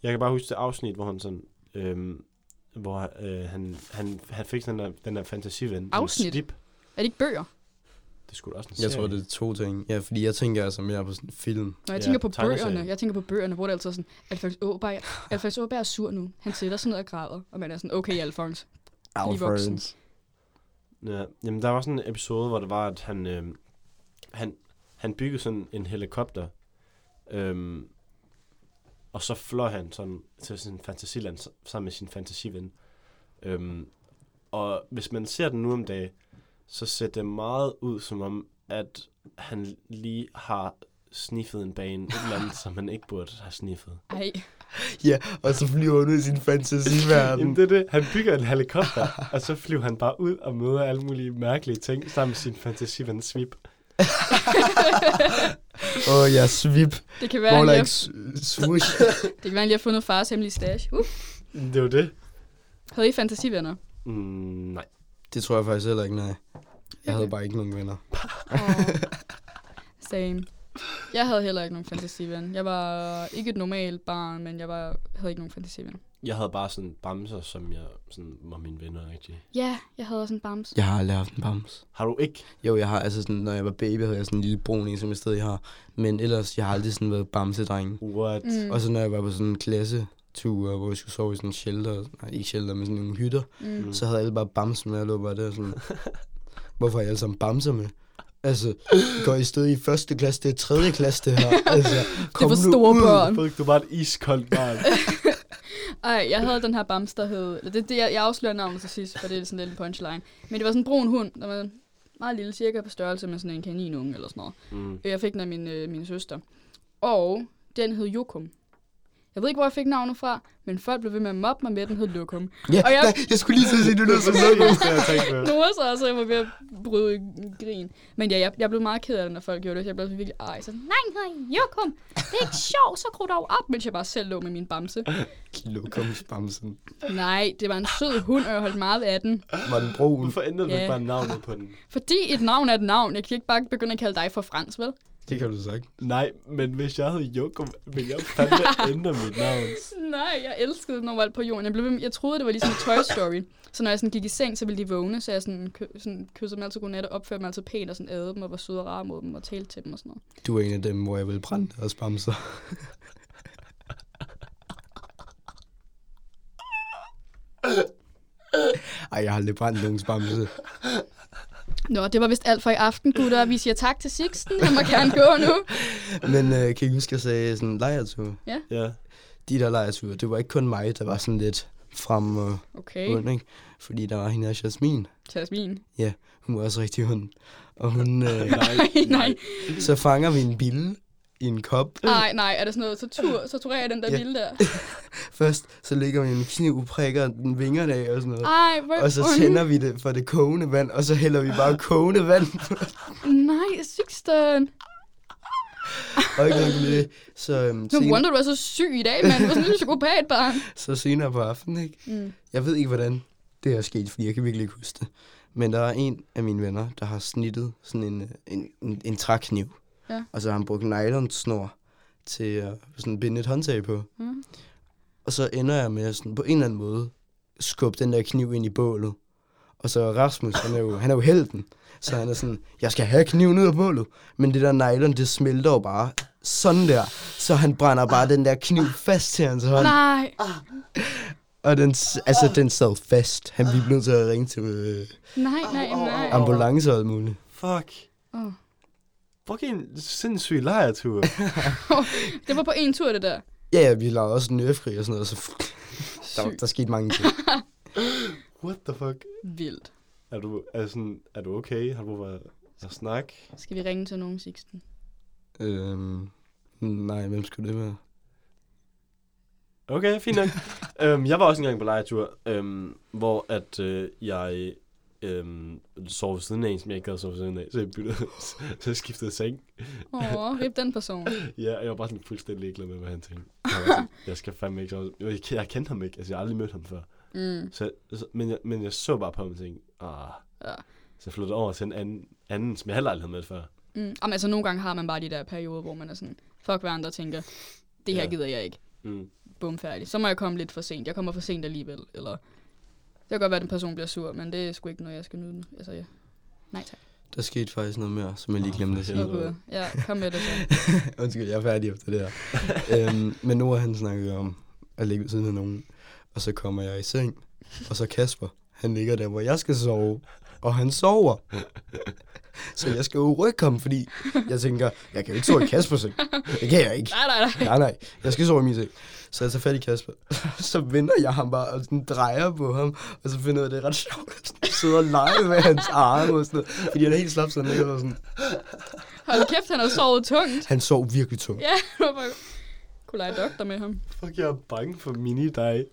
Jeg kan bare huske det afsnit, hvor han sådan... Øhm, hvor øh, han, han, han fik sådan den der, den der fantasiven. Afsnit? Slip. er det ikke bøger? Det skulle også en Jeg serie. tror, det er to ting. Ja, fordi jeg tænker altså mere på sådan en film. Når jeg Ja, tænker på tegneserie. bøgerne, jeg tænker på bøgerne, hvor det er altid sådan, Alfons Åberg, Alfons Åberg er sur nu. Han sætter sig ned og græder, og man er sådan, okay, Alfons. voksen. Alfreds. Ja, jamen, der var sådan en episode, hvor det var, at han, øhm, han, han byggede sådan en helikopter. Øhm, og så fløj han sådan til sin fantasiland s- sammen med sin fantasiven. Øhm, og hvis man ser den nu om dagen, så ser det meget ud som om, at han lige har sniffet en bane, et eller andet, som han ikke burde have sniffet. Ej, Ja, og så flyver han ud i sin fantasiverden. Jamen, det er det. Han bygger en helikopter, og så flyver han bare ud og møder alle mulige mærkelige ting sammen med sin fantasiven Svip. Åh, oh, jeg svip. det kan være, Hvor han der lige ikke har, s- swoosh. det kan være, han lige har fundet fars hemmelige stash. Uh, Det er jo det. havde I fantasivenner? Mm, nej. Det tror jeg faktisk heller ikke, nej. Jeg havde bare ikke nogen venner. Oh. Same. Jeg havde heller ikke nogen fantasiven. Jeg var ikke et normalt barn, men jeg var, havde ikke nogen fantasiven. Jeg havde bare sådan bamser, som jeg sådan var mine venner rigtig. Ja, jeg havde også en bams. Jeg har aldrig haft en bams. Har du ikke? Jo, jeg har, altså sådan, når jeg var baby, havde jeg sådan en lille brun en, som jeg stadig har. Men ellers, jeg har aldrig sådan været bamsedreng. What? Mm. Og så når jeg var på sådan en klassetur, hvor jeg skulle sove i sådan en shelter, nej ikke shelter, men sådan nogle hytter, Mm. mm. så havde alle bare bamser med, og lå bare der sådan, hvorfor har I alle sammen bamser med? Altså, går I stadig i første klasse, det er tredje klasse det her, altså, kom for nu store ud. børn. Frederik, du var et iskoldt barn. Ej, jeg havde den her bams, der hed... Eller det, det, jeg afslører navnet til sidst, for det er sådan lidt en punchline. Men det var sådan en brun hund, der var meget lille, cirka på størrelse med sådan en kaninunge eller sådan noget. Mm. Øh, Jeg fik den af min, øh, min søster. Og den hed Jokum. Jeg ved ikke, hvor jeg fik navnet fra, men folk blev ved med at mobbe mig med, at den hed Lokum. Ja, Og jeg- nej, jeg skulle lige til at sige, at du lød som Det lokum. er det, jeg tænkte på. Nogle så altså, jeg var ved at bryde i grin. Men ja, jeg, jeg blev meget ked af det, når folk gjorde det. Jeg blev virkelig ej. Så, nej, nej, Jokum, det er ikke sjovt, så gro dog op, mens jeg bare selv lå med min bamse. Lokumsbamsen. Nej, det var en sød hund, og jeg holdt meget af den. Var den brun? Hvorfor ændrede du Ja. ikke bare navnet på den? Fordi et navn er et navn. Jeg kan ikke bare begynde at kalde dig for Frans, vel? Det kan du sagt. Nej, men hvis jeg hed Joko, ville jeg fandme ændre mit navn. Nej, jeg elskede den overalt på jorden. Jeg, blev, ved med- jeg troede, det var ligesom i Toy Story. Så når jeg sådan gik i seng, så ville de vågne, så jeg sådan, kø, sådan kyssede dem altid godnat og opførte mig altid pænt og sådan ædede dem og var sød og rar mod dem og talte til dem og sådan noget. Du er en af dem, hvor jeg vil brænde og bamser. Ej, jeg har aldrig brændt nogen bamse. Nå, det var vist alt for i aften, gutter. Vi siger tak til Sixten. Han må gerne gå nu. Men øh, kan I huske, jeg sagde sådan lejertur? Ja. De der lejerture, det var ikke kun mig, der var sådan lidt frem og Okay, ond, ikke? Fordi der var hende her, Jasmin. Tasmin. Ja, hun var også rigtig ond. Og hun, øh, Nej, nej. så fanger vi en bille i en kop. Nej, nej. Er det sådan noget tortur? Så tror jeg den der Ja. vilde der. Først så ligger vi en kniv, prikker den vingerne af og sådan noget. Ej, hvor Og så ondt. tænder vi det for det kogende vand, og så hælder vi bare kogende vand på. Nej, Sixten. Og ikke nok med det. Så, øhm, Nu senere, wonder du er så syg i dag, mand. Du er sådan en psykopat, barn. så senere på aftenen, ikke? Mm. Jeg ved ikke, hvordan det er sket, fordi jeg kan virkelig ikke huske det. Men der er en af mine venner, der har snittet sådan en, øh, en, en, en trækniv. Ja. Og så har han brugt nylonsnor til at sådan binde et håndtag på. Mm. Og så ender jeg med sådan, på en eller anden måde skubbe den der kniv ind i bålet. Og så Rasmus, han er jo, han er jo helten. Så han er sådan, jeg skal have kniven ud af bålet. Men det der nylon, det smelter jo bare sådan der. Så han brænder bare den der kniv fast til hans hånd. Nej. Og den, s- altså, den sad fast. Han blev nødt til at ringe til øh, Nej, nej, nej. ambulance og alt muligt. Fuck. Åh. Fucking sindssyg lejertur. Det var på en tur, det der. Ja, ja, vi lavede også nervekrig og sådan noget, så der, var- Sygt der skete mange ting. What the fuck? vildt. Er du, er, sådan, er du okay? Har du brug for at snakke? Skal vi ringe til nogen, Sixten? øhm, nej, hvem skulle det være? Okay, fint nok. øhm, jeg var også engang på lejertur, øhm, hvor at øh, jeg øhm, sov ved siden af en, som jeg ikke gad at sove ved siden af, så jeg byttede, så jeg skiftede seng. Åh, rip den person. Ja, og jeg var bare sådan fuldstændig ligeglad med, hvad han tænkte. Jeg, var sådan, jeg skal fandme ikke sove. Jeg, jeg kendte ham ikke, altså jeg har aldrig mødt ham før. Mm. Så, så, men, jeg, men jeg så bare på ham og tænkte, ah. Ja. Så jeg flyttede over til en anden, anden som jeg heller aldrig havde mødt før. Mm. Jamen, altså, nogle gange har man bare de der perioder, hvor man er sådan, fuck hvad andre tænker, det her Ja. gider jeg ikke. Mm. Bum, færdig. Så må jeg komme lidt for sent. Jeg kommer for sent alligevel, eller... Det kan godt være, at den person bliver sur, men det er sgu ikke noget, jeg skal nyde. Altså, ja. Nej, tak. Der skete faktisk noget mere, som jeg lige glemte at sige. Åh, Åh, Gud. Ja, kom med det så. Undskyld, jeg er færdig efter det her. øhm, men Nora, han snakkede om at ligge ved siden af nogen. Og så kommer jeg i seng, og så Kasper, han ligger der, hvor jeg skal sove. Og han sover. Så jeg skal jo rykke ham, fordi jeg tænker, jeg kan jo ikke sove i Kaspers seng. Det kan jeg ikke. Nej, nej, nej. Nej, nej, jeg skal sove i min seng. Så jeg tager fat i Kasper. Så vender jeg ham bare og sådan drejer på ham, og så finder jeg, at det er ret sjovt. at sidde og lege med hans arme og sådan noget. Fordi han er helt slap, så han ligger der sådan. Hold kæft, han har sovet tungt. Han sov virkelig tungt. Ja, hvorfor kunne lege doktor med ham? Fuck, jeg er bange for mini dig.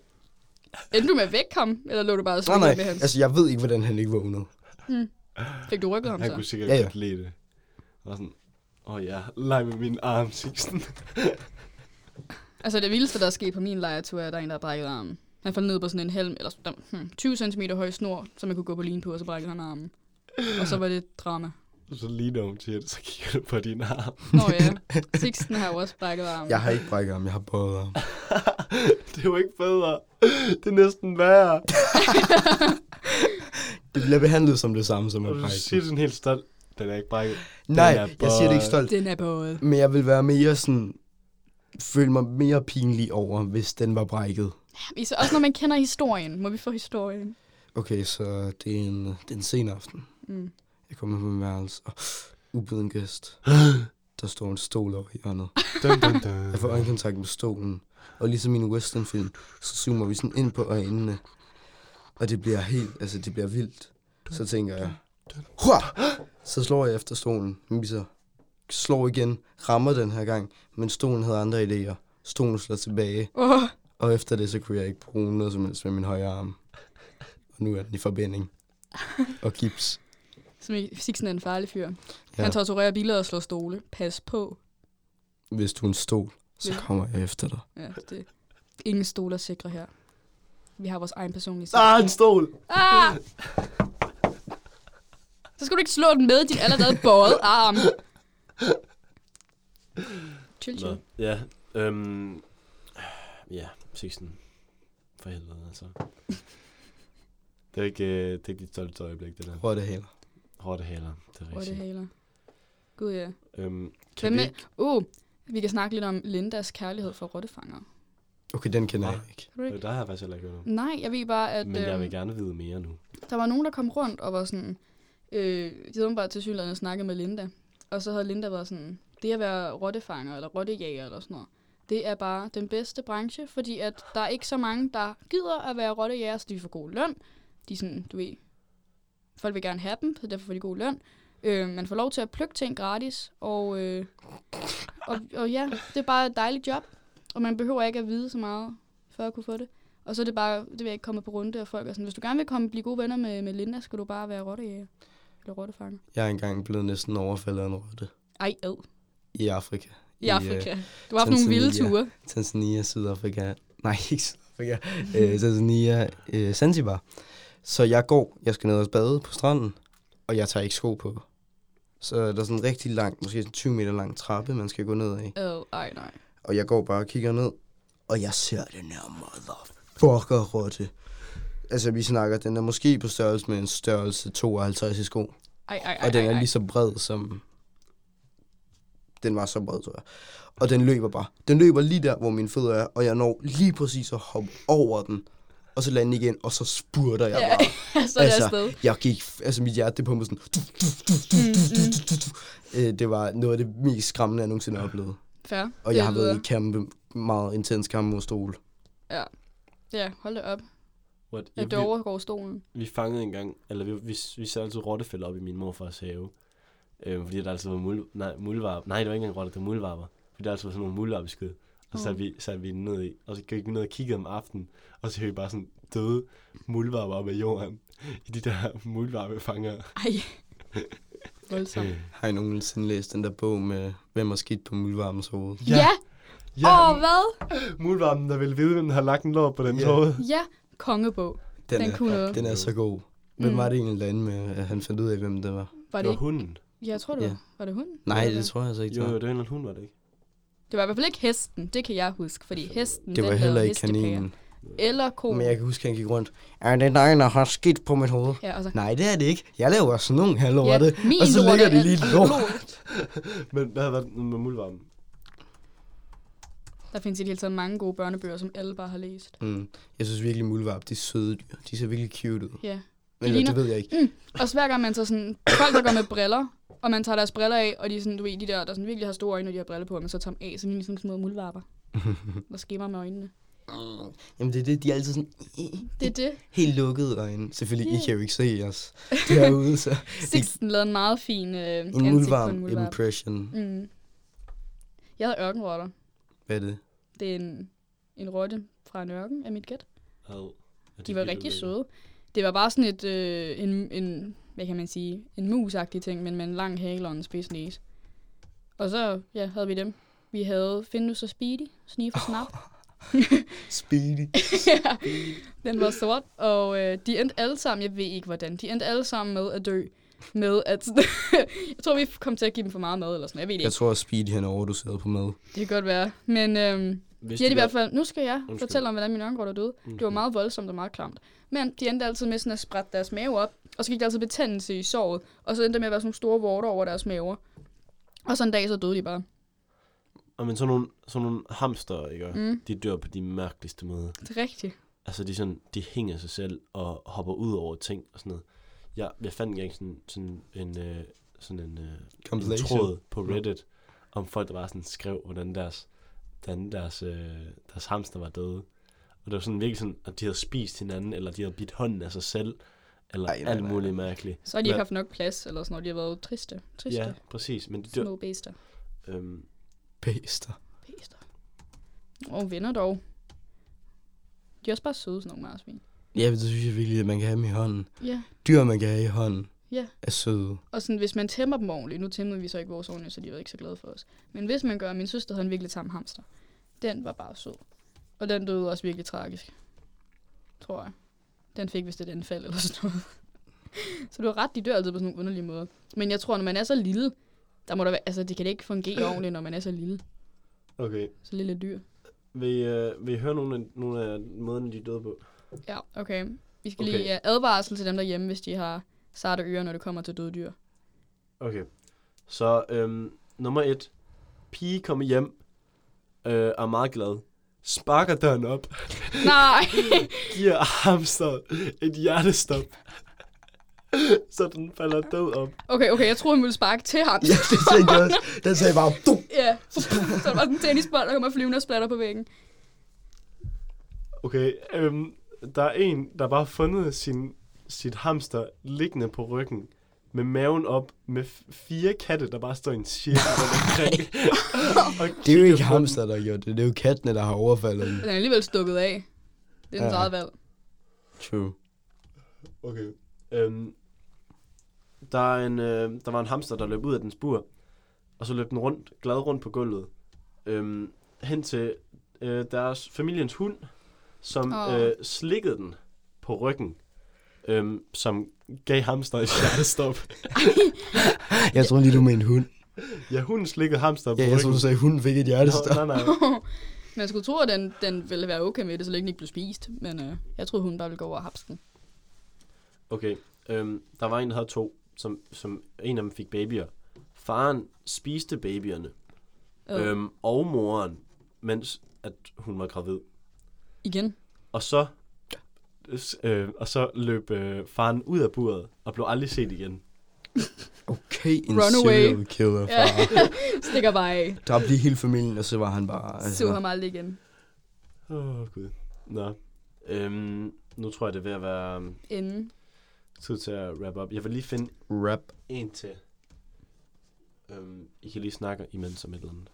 Endte du med at vække ham, eller lå du bare og Nej, nej, med hans? altså jeg ved ikke, hvordan han ikke vågnede. Fik du rykket ham Han så? kunne sikkert Ja, ja. godt lide det. Og sådan, åh oh, ja, leg med min arm, Sixten. Altså det vildeste, der er sket på min lejretur, er, at der er en, der har brækket armen. Han faldt ned på sådan en helm, eller sådan, hmm, 20 cm høj snor, som man kunne gå på lin på, og så brækkede han armen. Og så var det et drama. så lige da hun siger det, så kigger du på din arm. Nå ja, Sixten har jo også brækket armen. Jeg har ikke brækket ham, jeg har båret ham. Det var ikke bedre. Det er næsten værre. Det bliver behandlet som det samme som Og at du brække. siger sådan helt stolt. Den er ikke brækket. Nej, Den er jeg siger det ikke bøjet. stolt. Den er både. Men jeg vil være mere sådan, føle mig mere pinlig over, hvis den var brækket. Især også når man kender historien. Må vi få historien? Okay, så det er en, det er en sen aften. Mm. Jeg kommer på min værelse, og ubeden gæst. Der står en stol over i hjørnet. Dun, dun, dun. Jeg får øjenkontakt med stolen. Og ligesom i en westernfilm, så zoomer vi sådan ind på øjnene. Og det bliver helt, altså det bliver vildt. Så tænker jeg, Hua! Så slår jeg efter stolen, misser. Slår igen, rammer den her gang, men stolen havde andre idéer. Stolen slår tilbage, Åh, oh, og efter det, så kunne jeg ikke bruge noget som helst med min højre arm. Og nu er den i forbinding. Og gips. Sixten er en farlig fyr. Ja. Ja. Han torturerer biler og slår stole. Pas på. Hvis du er en stol, så Ja. kommer jeg efter dig. Ja, det. Ingen stole er sikre her. Vi har vores egen personlige Ah, en stol! Ah! Så skal du ikke slå den med din allerede bøjet arm. Chill, Nå, chill. ja. Øhm, ja, Sixten. For helvede, altså. Det er ikke, øh, det er ikke dit stolteste øjeblik, det der. Prøv det heller. Hårde haler, det er Røde rigtigt. haler. Gud, ja. Øhm, kan Hvem vi med? ikke? Uh, vi kan snakke lidt om Lindas kærlighed for rottefanger. Okay, den kender jeg ikke. Kan du ikke? Øh, Der har jeg faktisk heller ikke hørt om. Nej, jeg ved bare, at Men jeg vil øh, gerne vide mere nu. der var nogen, der kom rundt og var sådan... Øh, de havde bare til synligheden snakket med Linda. Og så havde Linda været sådan... Det at være rottefanger eller rottejæger eller sådan noget, det er bare den bedste branche, fordi at der er ikke så mange, der gider at være rottejæger, så de får god løn. De er sådan, du ved, folk vil gerne have dem, så derfor får de god løn. Øh, man får lov til at plukke ting gratis, og, øh, og, og ja, det er bare et dejligt job, og man behøver ikke at vide så meget, for at kunne få det. Og så er det bare, det vil jeg ikke komme på runde, og folk er sådan, hvis du gerne vil komme blive gode venner med, med Linda, skal du bare være rottejæger, eller rottefanger. Jeg er engang blevet næsten overfaldet af en rotte Ej, ad. i Afrika. I Afrika. Øh, Du har haft nogle vilde Tanzania. ture. Tanzania, Sydafrika. Nej, ikke Sydafrika. øh, Tanzania, øh, Zanzibar. Så jeg går, jeg skal ned og bade på stranden, og jeg tager ikke sko på. Så der er sådan en rigtig lang, måske sådan 20 meter lang trappe, man skal gå ned af. Ad, ej nej. Og jeg går bare og kigger ned, og jeg ser den her motherfucker rotte. Altså, vi snakker, den er måske på størrelse med en størrelse 52 i sko. Ej, ej, ej, Og den ej, er ej. lige så bred som... Den var så bred, tror jeg. Og den løber bare. Den løber lige der, hvor mine fødder er, og jeg når lige præcis at hoppe over den. Og så lander den igen, og så spurter jeg Ja, bare. så er det altså, afsted. Jeg gik, altså mit hjerte det pumpede sådan... Du, du, du, du, du, Mm, du, du, du, du. Øh, Det var noget af det mest skræmmende, jeg nogensinde har oplevet. Fair. Og Det jeg har lyder- været i kampe, meget intens kamp mod stol. Ja, hold da op. What? At det overgår stolen. vi fangede engang, eller vi, vi, vi satte altid rottefælder op i min morfars have. Øh, fordi der altid var mul, nej, mulvarp. Nej, det var ikke engang rotte, det var mulvarper. Fordi der altid var sådan nogle mulvarpeskid. Og så Mm. satte, vi, satte vi den ned i, og så gik vi ned og kiggede om aftenen, og så hørte vi bare sådan døde mulvarper op af jorden. I de der mulvarpefanger. Ej. Voldsomt. Har I nogensinde læst den der bog med, hvem har skidt på muldvarmens hoved? Ja. ja. ja Åh, hvad? mulvarpen, der vil vide, hvem der har lagt en lår på den Ja. hoved. Ja, kongebog. Den, den er, kunne noget. Den, den er så god. Hvem Mm. var det egentlig, der endte med, at han fandt ud af, hvem det var? var Det det var ikke? hunden. Ja, jeg tror det var. Ja. Var det hunden? Nej, Eller hvad? det tror jeg altså ikke. Jo, det jo, var. det var en eller anden hund, var det ikke? Det var i hvert fald ikke hesten. Det kan jeg huske, fordi hesten... Det var den heller lavede ikke hestepager. kaninen. Eller koen. Men jeg kan huske, at han gik rundt. Er det dig, der har skidt på mit hoved? Ja, altså- og så... Nej, det er det ikke. Jeg laver sådan nogle halvorte. Ja, min og så lort ligger er de lige alt- lort. Men hvad var det med mulvarpen? Der findes i det hele taget mange gode børnebøger, som alle bare har læst. Mm. Jeg synes virkelig, muldvarp, de er søde dyr. De ser virkelig cute ud. Ja. Men ligner- det ved jeg ikke. Og hver gang man så sådan, folk der går med briller, og man tager deres briller af, og de er sådan, du ved, de der, der sådan virkelig har store øjne, og de har briller på, og man så tager dem af, så ligner de sådan små muldvarper. der skimmer med øjnene. Jamen det er det, de er altid sådan Det er det. helt lukkede øjne. Selvfølgelig, Ja. I kan jo ikke se os derude, så Sixten lavede en meget fin øh, en ansigt på muldvarp en muldvarp. impression. Mm. Jeg havde ørkenrotter. Hvad er det? Det er en, en rotte fra en ørken, er mit gæt. Ad. Er De var vildt rigtig ulækre? søde. Det var bare sådan et, øh, en, en, hvad kan man sige, en musagtig ting, men med en lang hale og en spids næse. Og så ja, havde vi dem. Vi havde Findus og Speedy, Sniff og Snap. Speedy. ja, den var sort, og øh, de endte alle sammen, jeg ved ikke hvordan, de endte alle sammen med at dø. Med at, jeg tror, vi kom til at give dem for meget mad, eller sådan jeg ved det Jeg ikke. tror, at Speedy han er overdoseret på mad. Det kan godt være. Men øhm, Vidste de endte i du, hvert fald, nu skal jeg Undskyld. fortælle om, hvordan min ørngrot er døde. Det var meget voldsomt og meget klamt. Men de endte altid med sådan at sprætte deres mave op, og så gik der altid betændelse i såret, og så endte der med at være sådan nogle store vorter over deres maver. Og så en dag, så døde de bare. Og men sådan nogle, sådan nogle hamster, ikke? Mm. Mm. De dør på de mærkeligste måder. Det er rigtigt. Altså, de, sådan, de hænger sig selv og hopper ud over ting og sådan noget. Jeg, jeg fandt engang sådan, sådan en, øh, sådan en, øh, en Compilation. tråd på Reddit, om folk, der bare sådan skrev, hvordan deres, hvordan deres, øh, deres hamster var døde. Og det var sådan virkelig sådan, at de havde spist hinanden, eller de havde bidt hånden af sig selv, eller Ej, nej, nej, alt nej, muligt mærkeligt. Så har de ikke Hvad? haft nok plads, eller sådan noget. De har været triste. Triste. Ja, Ja. præcis. Men det, det, Små bæster. øhm, Bæster. Bæster. Og venner dog. De er også bare søde, sådan nogle marsvin. Ja, men det synes jeg virkelig, at man kan have dem i hånden. Ja. Dyr, man kan have i hånden, Ja. er søde. Og sådan, hvis man tæmmer dem ordentligt, nu tæmmede vi så ikke vores ordentligt, så de var ikke så glade for os. Men hvis man gør, min søster havde en virkelig tam hamster. Den var bare sød. Og den døde også virkelig tragisk. Tror jeg. Den fik vist et anfald eller sådan noget. så du har ret, de dør altid på sådan nogle underlige måder. Men jeg tror, når man er så lille, der må der være, altså det kan da ikke fungere ordentligt, når man er så lille. okay. Så lille et dyr. Vil, øh, vil I høre nogle af, nogle af måderne, de er døde på? Ja, okay. Vi skal Okay. okay. lige ja, advarsel til dem derhjemme, hvis de har sarte ører, når det kommer til døde dyr. Okay. Så øhm, nummer et. Pige kommer hjem øh, er meget glad. Sparker døren op. Nej! Giver hamster et hjertestop. så den falder død om. Okay, okay, jeg tror, han ville sparke til ham. Ja, det tænkte jeg også. Den sagde bare, du. Ja, så der var sådan en tennisbold, der kommer flyvende og splatter på væggen. Okay, øhm, der er en, der bare har fundet sin, sit hamster liggende på ryggen med maven op med f- fire katte, der bare står i en cirkel rundt omkring. Og Det er jo kigger ikke på den. hamster, der har gjort det. Det er jo kattene, der har overfaldet den. Den er alligevel stukket af. Det er dens ja. Ja. eget valg. True. Okay. Øhm, der, er en, øh, der var en hamster, der løb ud af dens bur, og så løb den rundt, glad rundt på gulvet, øhm, hen til øh, deres familiens hund, som Åh. oh. øh, slikkede den på ryggen, øhm, som gav hamster et hjertestop. Jeg tror lige, du mente hund. ja, hunden slikkede hamster på Ja, jeg ryggen. tror, du sagde, hunden fik et Nå, hjertestop. nej, nej. Man skulle tro, at den, den ville være okay med det, så længe den ikke blev spist. Men øh, jeg troede, hun bare ville gå over og hapse den. Okay, øhm, der var en, der havde to, som, som en af dem fik babyer. Faren spiste babyerne, Øh, øhm, og moren, mens at hun var gravid. igen. Og så, øh, og så løb øh, faren ud af buret og blev aldrig set igen. Okay, en Runaway. serial killer, Ja. far. Stikker bare af. Dræbte lige hele familien, og så var han bare... altså, Så ham aldrig igen. Åh, oh, gud. Nå. Øhm, nu tror jeg, det er ved at være øhm, Inden. tid til at wrap up. Jeg vil lige finde Rap. en til. Øhm, I kan lige snakke imens om et eller andet.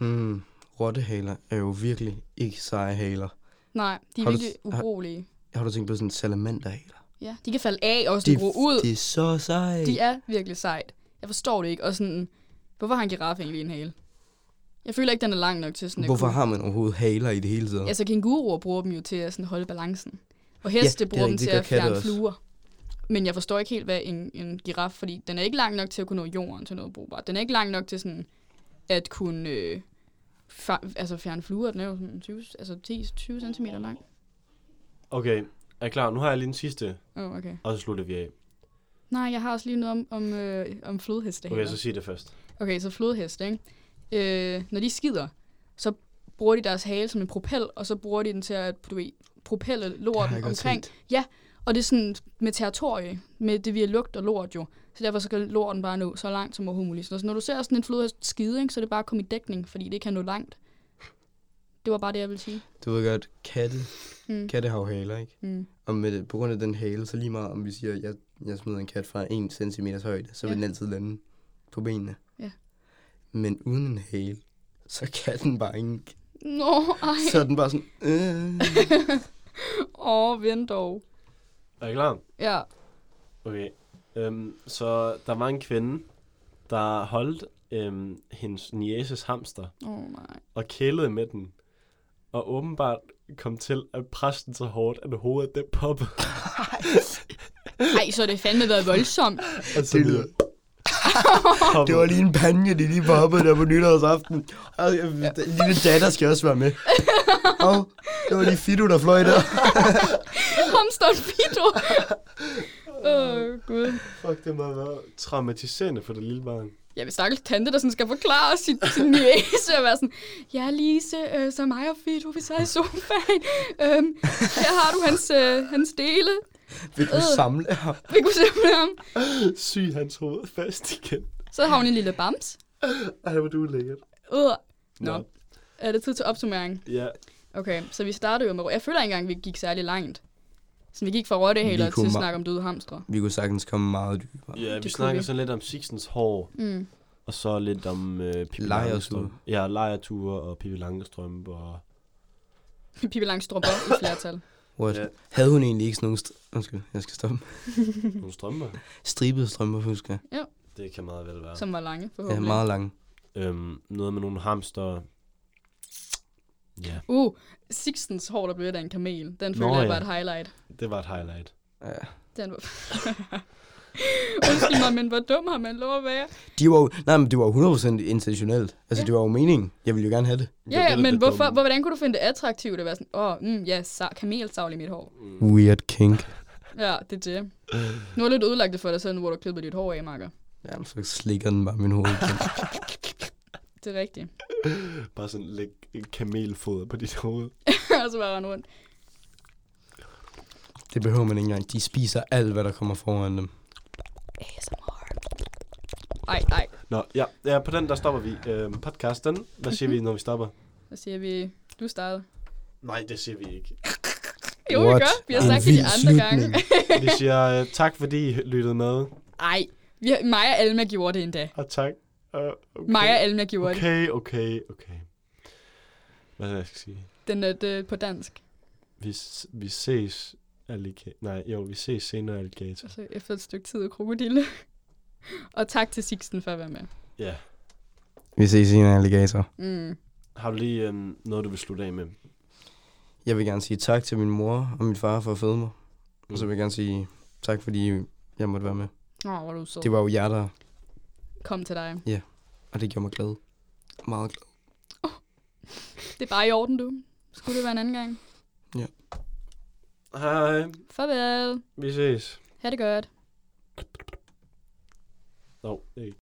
Hmm. Rottehaler er jo virkelig ikke seje haler. Nej, de er Har du- virkelig har- ubrugelige. Har du tænkt på sådan en salamanderhaler? Ja, de kan falde af og sådan gro ud. det er så sejt. De er virkelig sejt. Jeg forstår det ikke. Og sådan, hvorfor har en giraf egentlig en hale? Jeg føler ikke, den er lang nok til sådan at Hvorfor kunne- har man overhovedet haler i det hele taget? Altså kænguruer bruger dem jo til at sådan holde balancen. Og heste det ja, er bruger dem rigtigt, til det gør at fjerne katte også. fluer. Men jeg forstår ikke helt, hvad en, en giraf, fordi den er ikke lang nok til at kunne nå jorden til noget brugbart. Den er ikke lang nok til sådan at kunne øh, fa- altså fjerne fluer. Den er jo sådan 20, altså 10-20 cm lang. Okay, er I klar? Nu har jeg lige den sidste, Åh, oh, okay. og så slutter vi af. Nej, jeg har også lige noget om, om, øh, om flodheste Okay, her. så sig det først. Okay, så flodheste, ikke? Øh, når de skider, så bruger de deres hale som en propel, og så bruger de den til at, du ved, propelle Det har jeg lorten godt omkring. Ja, og det er sådan med territorie, med det via lugt og lort jo. Så derfor skal lorten bare nå så langt som overhovedet muligt. Så når du ser sådan en flodhest skide, ikke, så er det bare at komme i dækning, fordi det kan nå langt. Det var bare det, jeg ville sige. Du ved godt, katte, Mm. katte har jo haler, ikke? Mm. Og med det, på grund af den hale, så lige meget om vi siger, at jeg, jeg smider en kat fra 1 cm højde, så vil Ja. den altid lande på benene. Ja. Men uden en hale, så kan den bare ikke. Nå, ej. Så er den bare sådan, øh. Åh, vent dog. Er I klar? Ja. Okay. Øhm, så der var en kvinde, der holdt øhm, hendes nieces hamster Åh, oh, nej. og kælede med den. Og åbenbart kom til at presse den så hårdt, at hovedet det poppede. Ej, så har det fandme været voldsomt. Og så Det lyder lyder- Det var lige en panje, de lige var oppe der på nytårsaften. Og øh, den lille datter skal også være med. Og det var lige Fido, der fløj der. Hamsteren Fido. Åh, oh, gud. Fuck, det må have været traumatiserende for det lille barn. Ja, hvis stakkels tante, der sådan skal forklare sin, sin niece, og være sådan, ja, Lise, øh, så mig og Fido, vi sad i sofaen, øhm, her har du hans, øh, hans dele, Vil du Øh. samle ham? vi kunne se med ham. Syg hans hoved fast igen. Så har hun en lille bams. Ej, hvor du er lækkert. Øh. Nå. Er det tid til opsummering? Ja, Okay, så vi startede jo med... Jeg føler ikke engang, vi gik særlig langt. Så vi gik fra rottehaler Vi til kunne at ma- snakke om døde hamstre. Vi kunne sagtens komme meget dybere. Ja, vi kunne snakker vi. sådan lidt om Sixtens hår, Mm. og så lidt om øh, Pippi Lejerture. Langstrømpe. Ja, lejerture og Pippi Langstrømpe. Og... Pippi Langstrømpe i flertal. What? Ja. Yeah. Havde hun egentlig ikke sådan nogle... St- Undskyld, jeg skal stoppe. Nogle strømper. Stribede strømper, husker jeg. Det kan meget vel være. Som var lange, Ja, forhåbentlig. meget lange. Øhm, noget med nogle hamster. Ja, Uh, Sixtens hår, der blev af en kamel. Den Nå, følte jeg ja. var et highlight. det var et highlight. Ja. Den var... Undskyld mig, men hvor dum har man lov at være? De var jo, nej, men det var jo 100% intentionelt. Altså, Ja. det var jo meningen. Jeg ville jo gerne have det. Ja, ja, men hvorfor, hvor, hvordan kunne du finde det attraktivt at være sådan, åh, oh, mm, ja, sa- kamelsavl i mit hår. Mm. Weird kink. Ja, det er det. Nu har du lidt ødelagt det for dig selv, nu hvor du har klippet dit hår af, Marker. Jamen, så slikker den bare min hoved. igen. Det er rigtigt. Bare sådan læg en kamelfoder på dit hoved. og så bare rende rundt. det behøver man ikke engang. De spiser alt, hvad der kommer foran dem. Ej, ej. Nå, ja, ja på den der stopper vi øhm, podcasten. Hvad siger Mhm. vi, når vi stopper? Så siger vi, du startede. Nej, det siger vi ikke. Jo, vi What? gør. Vi har En sagt det de vild andre gange. Vi siger øh, tak, fordi I lyttede med. Ej, vi har, mig og Alma gjorde det endda. Og tak. Uh, okay. Mig og Alma gjorde okay. det. Okay, okay, okay. Hvad er det, jeg skal sige? Den er det på dansk. Vi, s- vi ses alligator. Nej, jo, vi ses senere alligator. Og så efter et stykke tid af krokodille. og tak til Sixten for at være med. Ja. Vi ses i en alligator. Mm. Har du lige øhm, noget, du vil slutte af med? Jeg vil gerne sige tak til min mor og min far for at føde mig. Og så vil jeg gerne sige tak, fordi jeg måtte være med. Åh, oh, hvor er du så. Det var jo jer, der... Kom til dig. Og det gjorde mig glad. Meget glad. Det er bare i orden, du. Skulle det være en anden gang. Hej, Farvel. vi ses. Ha' det godt. Nå, det er ikke.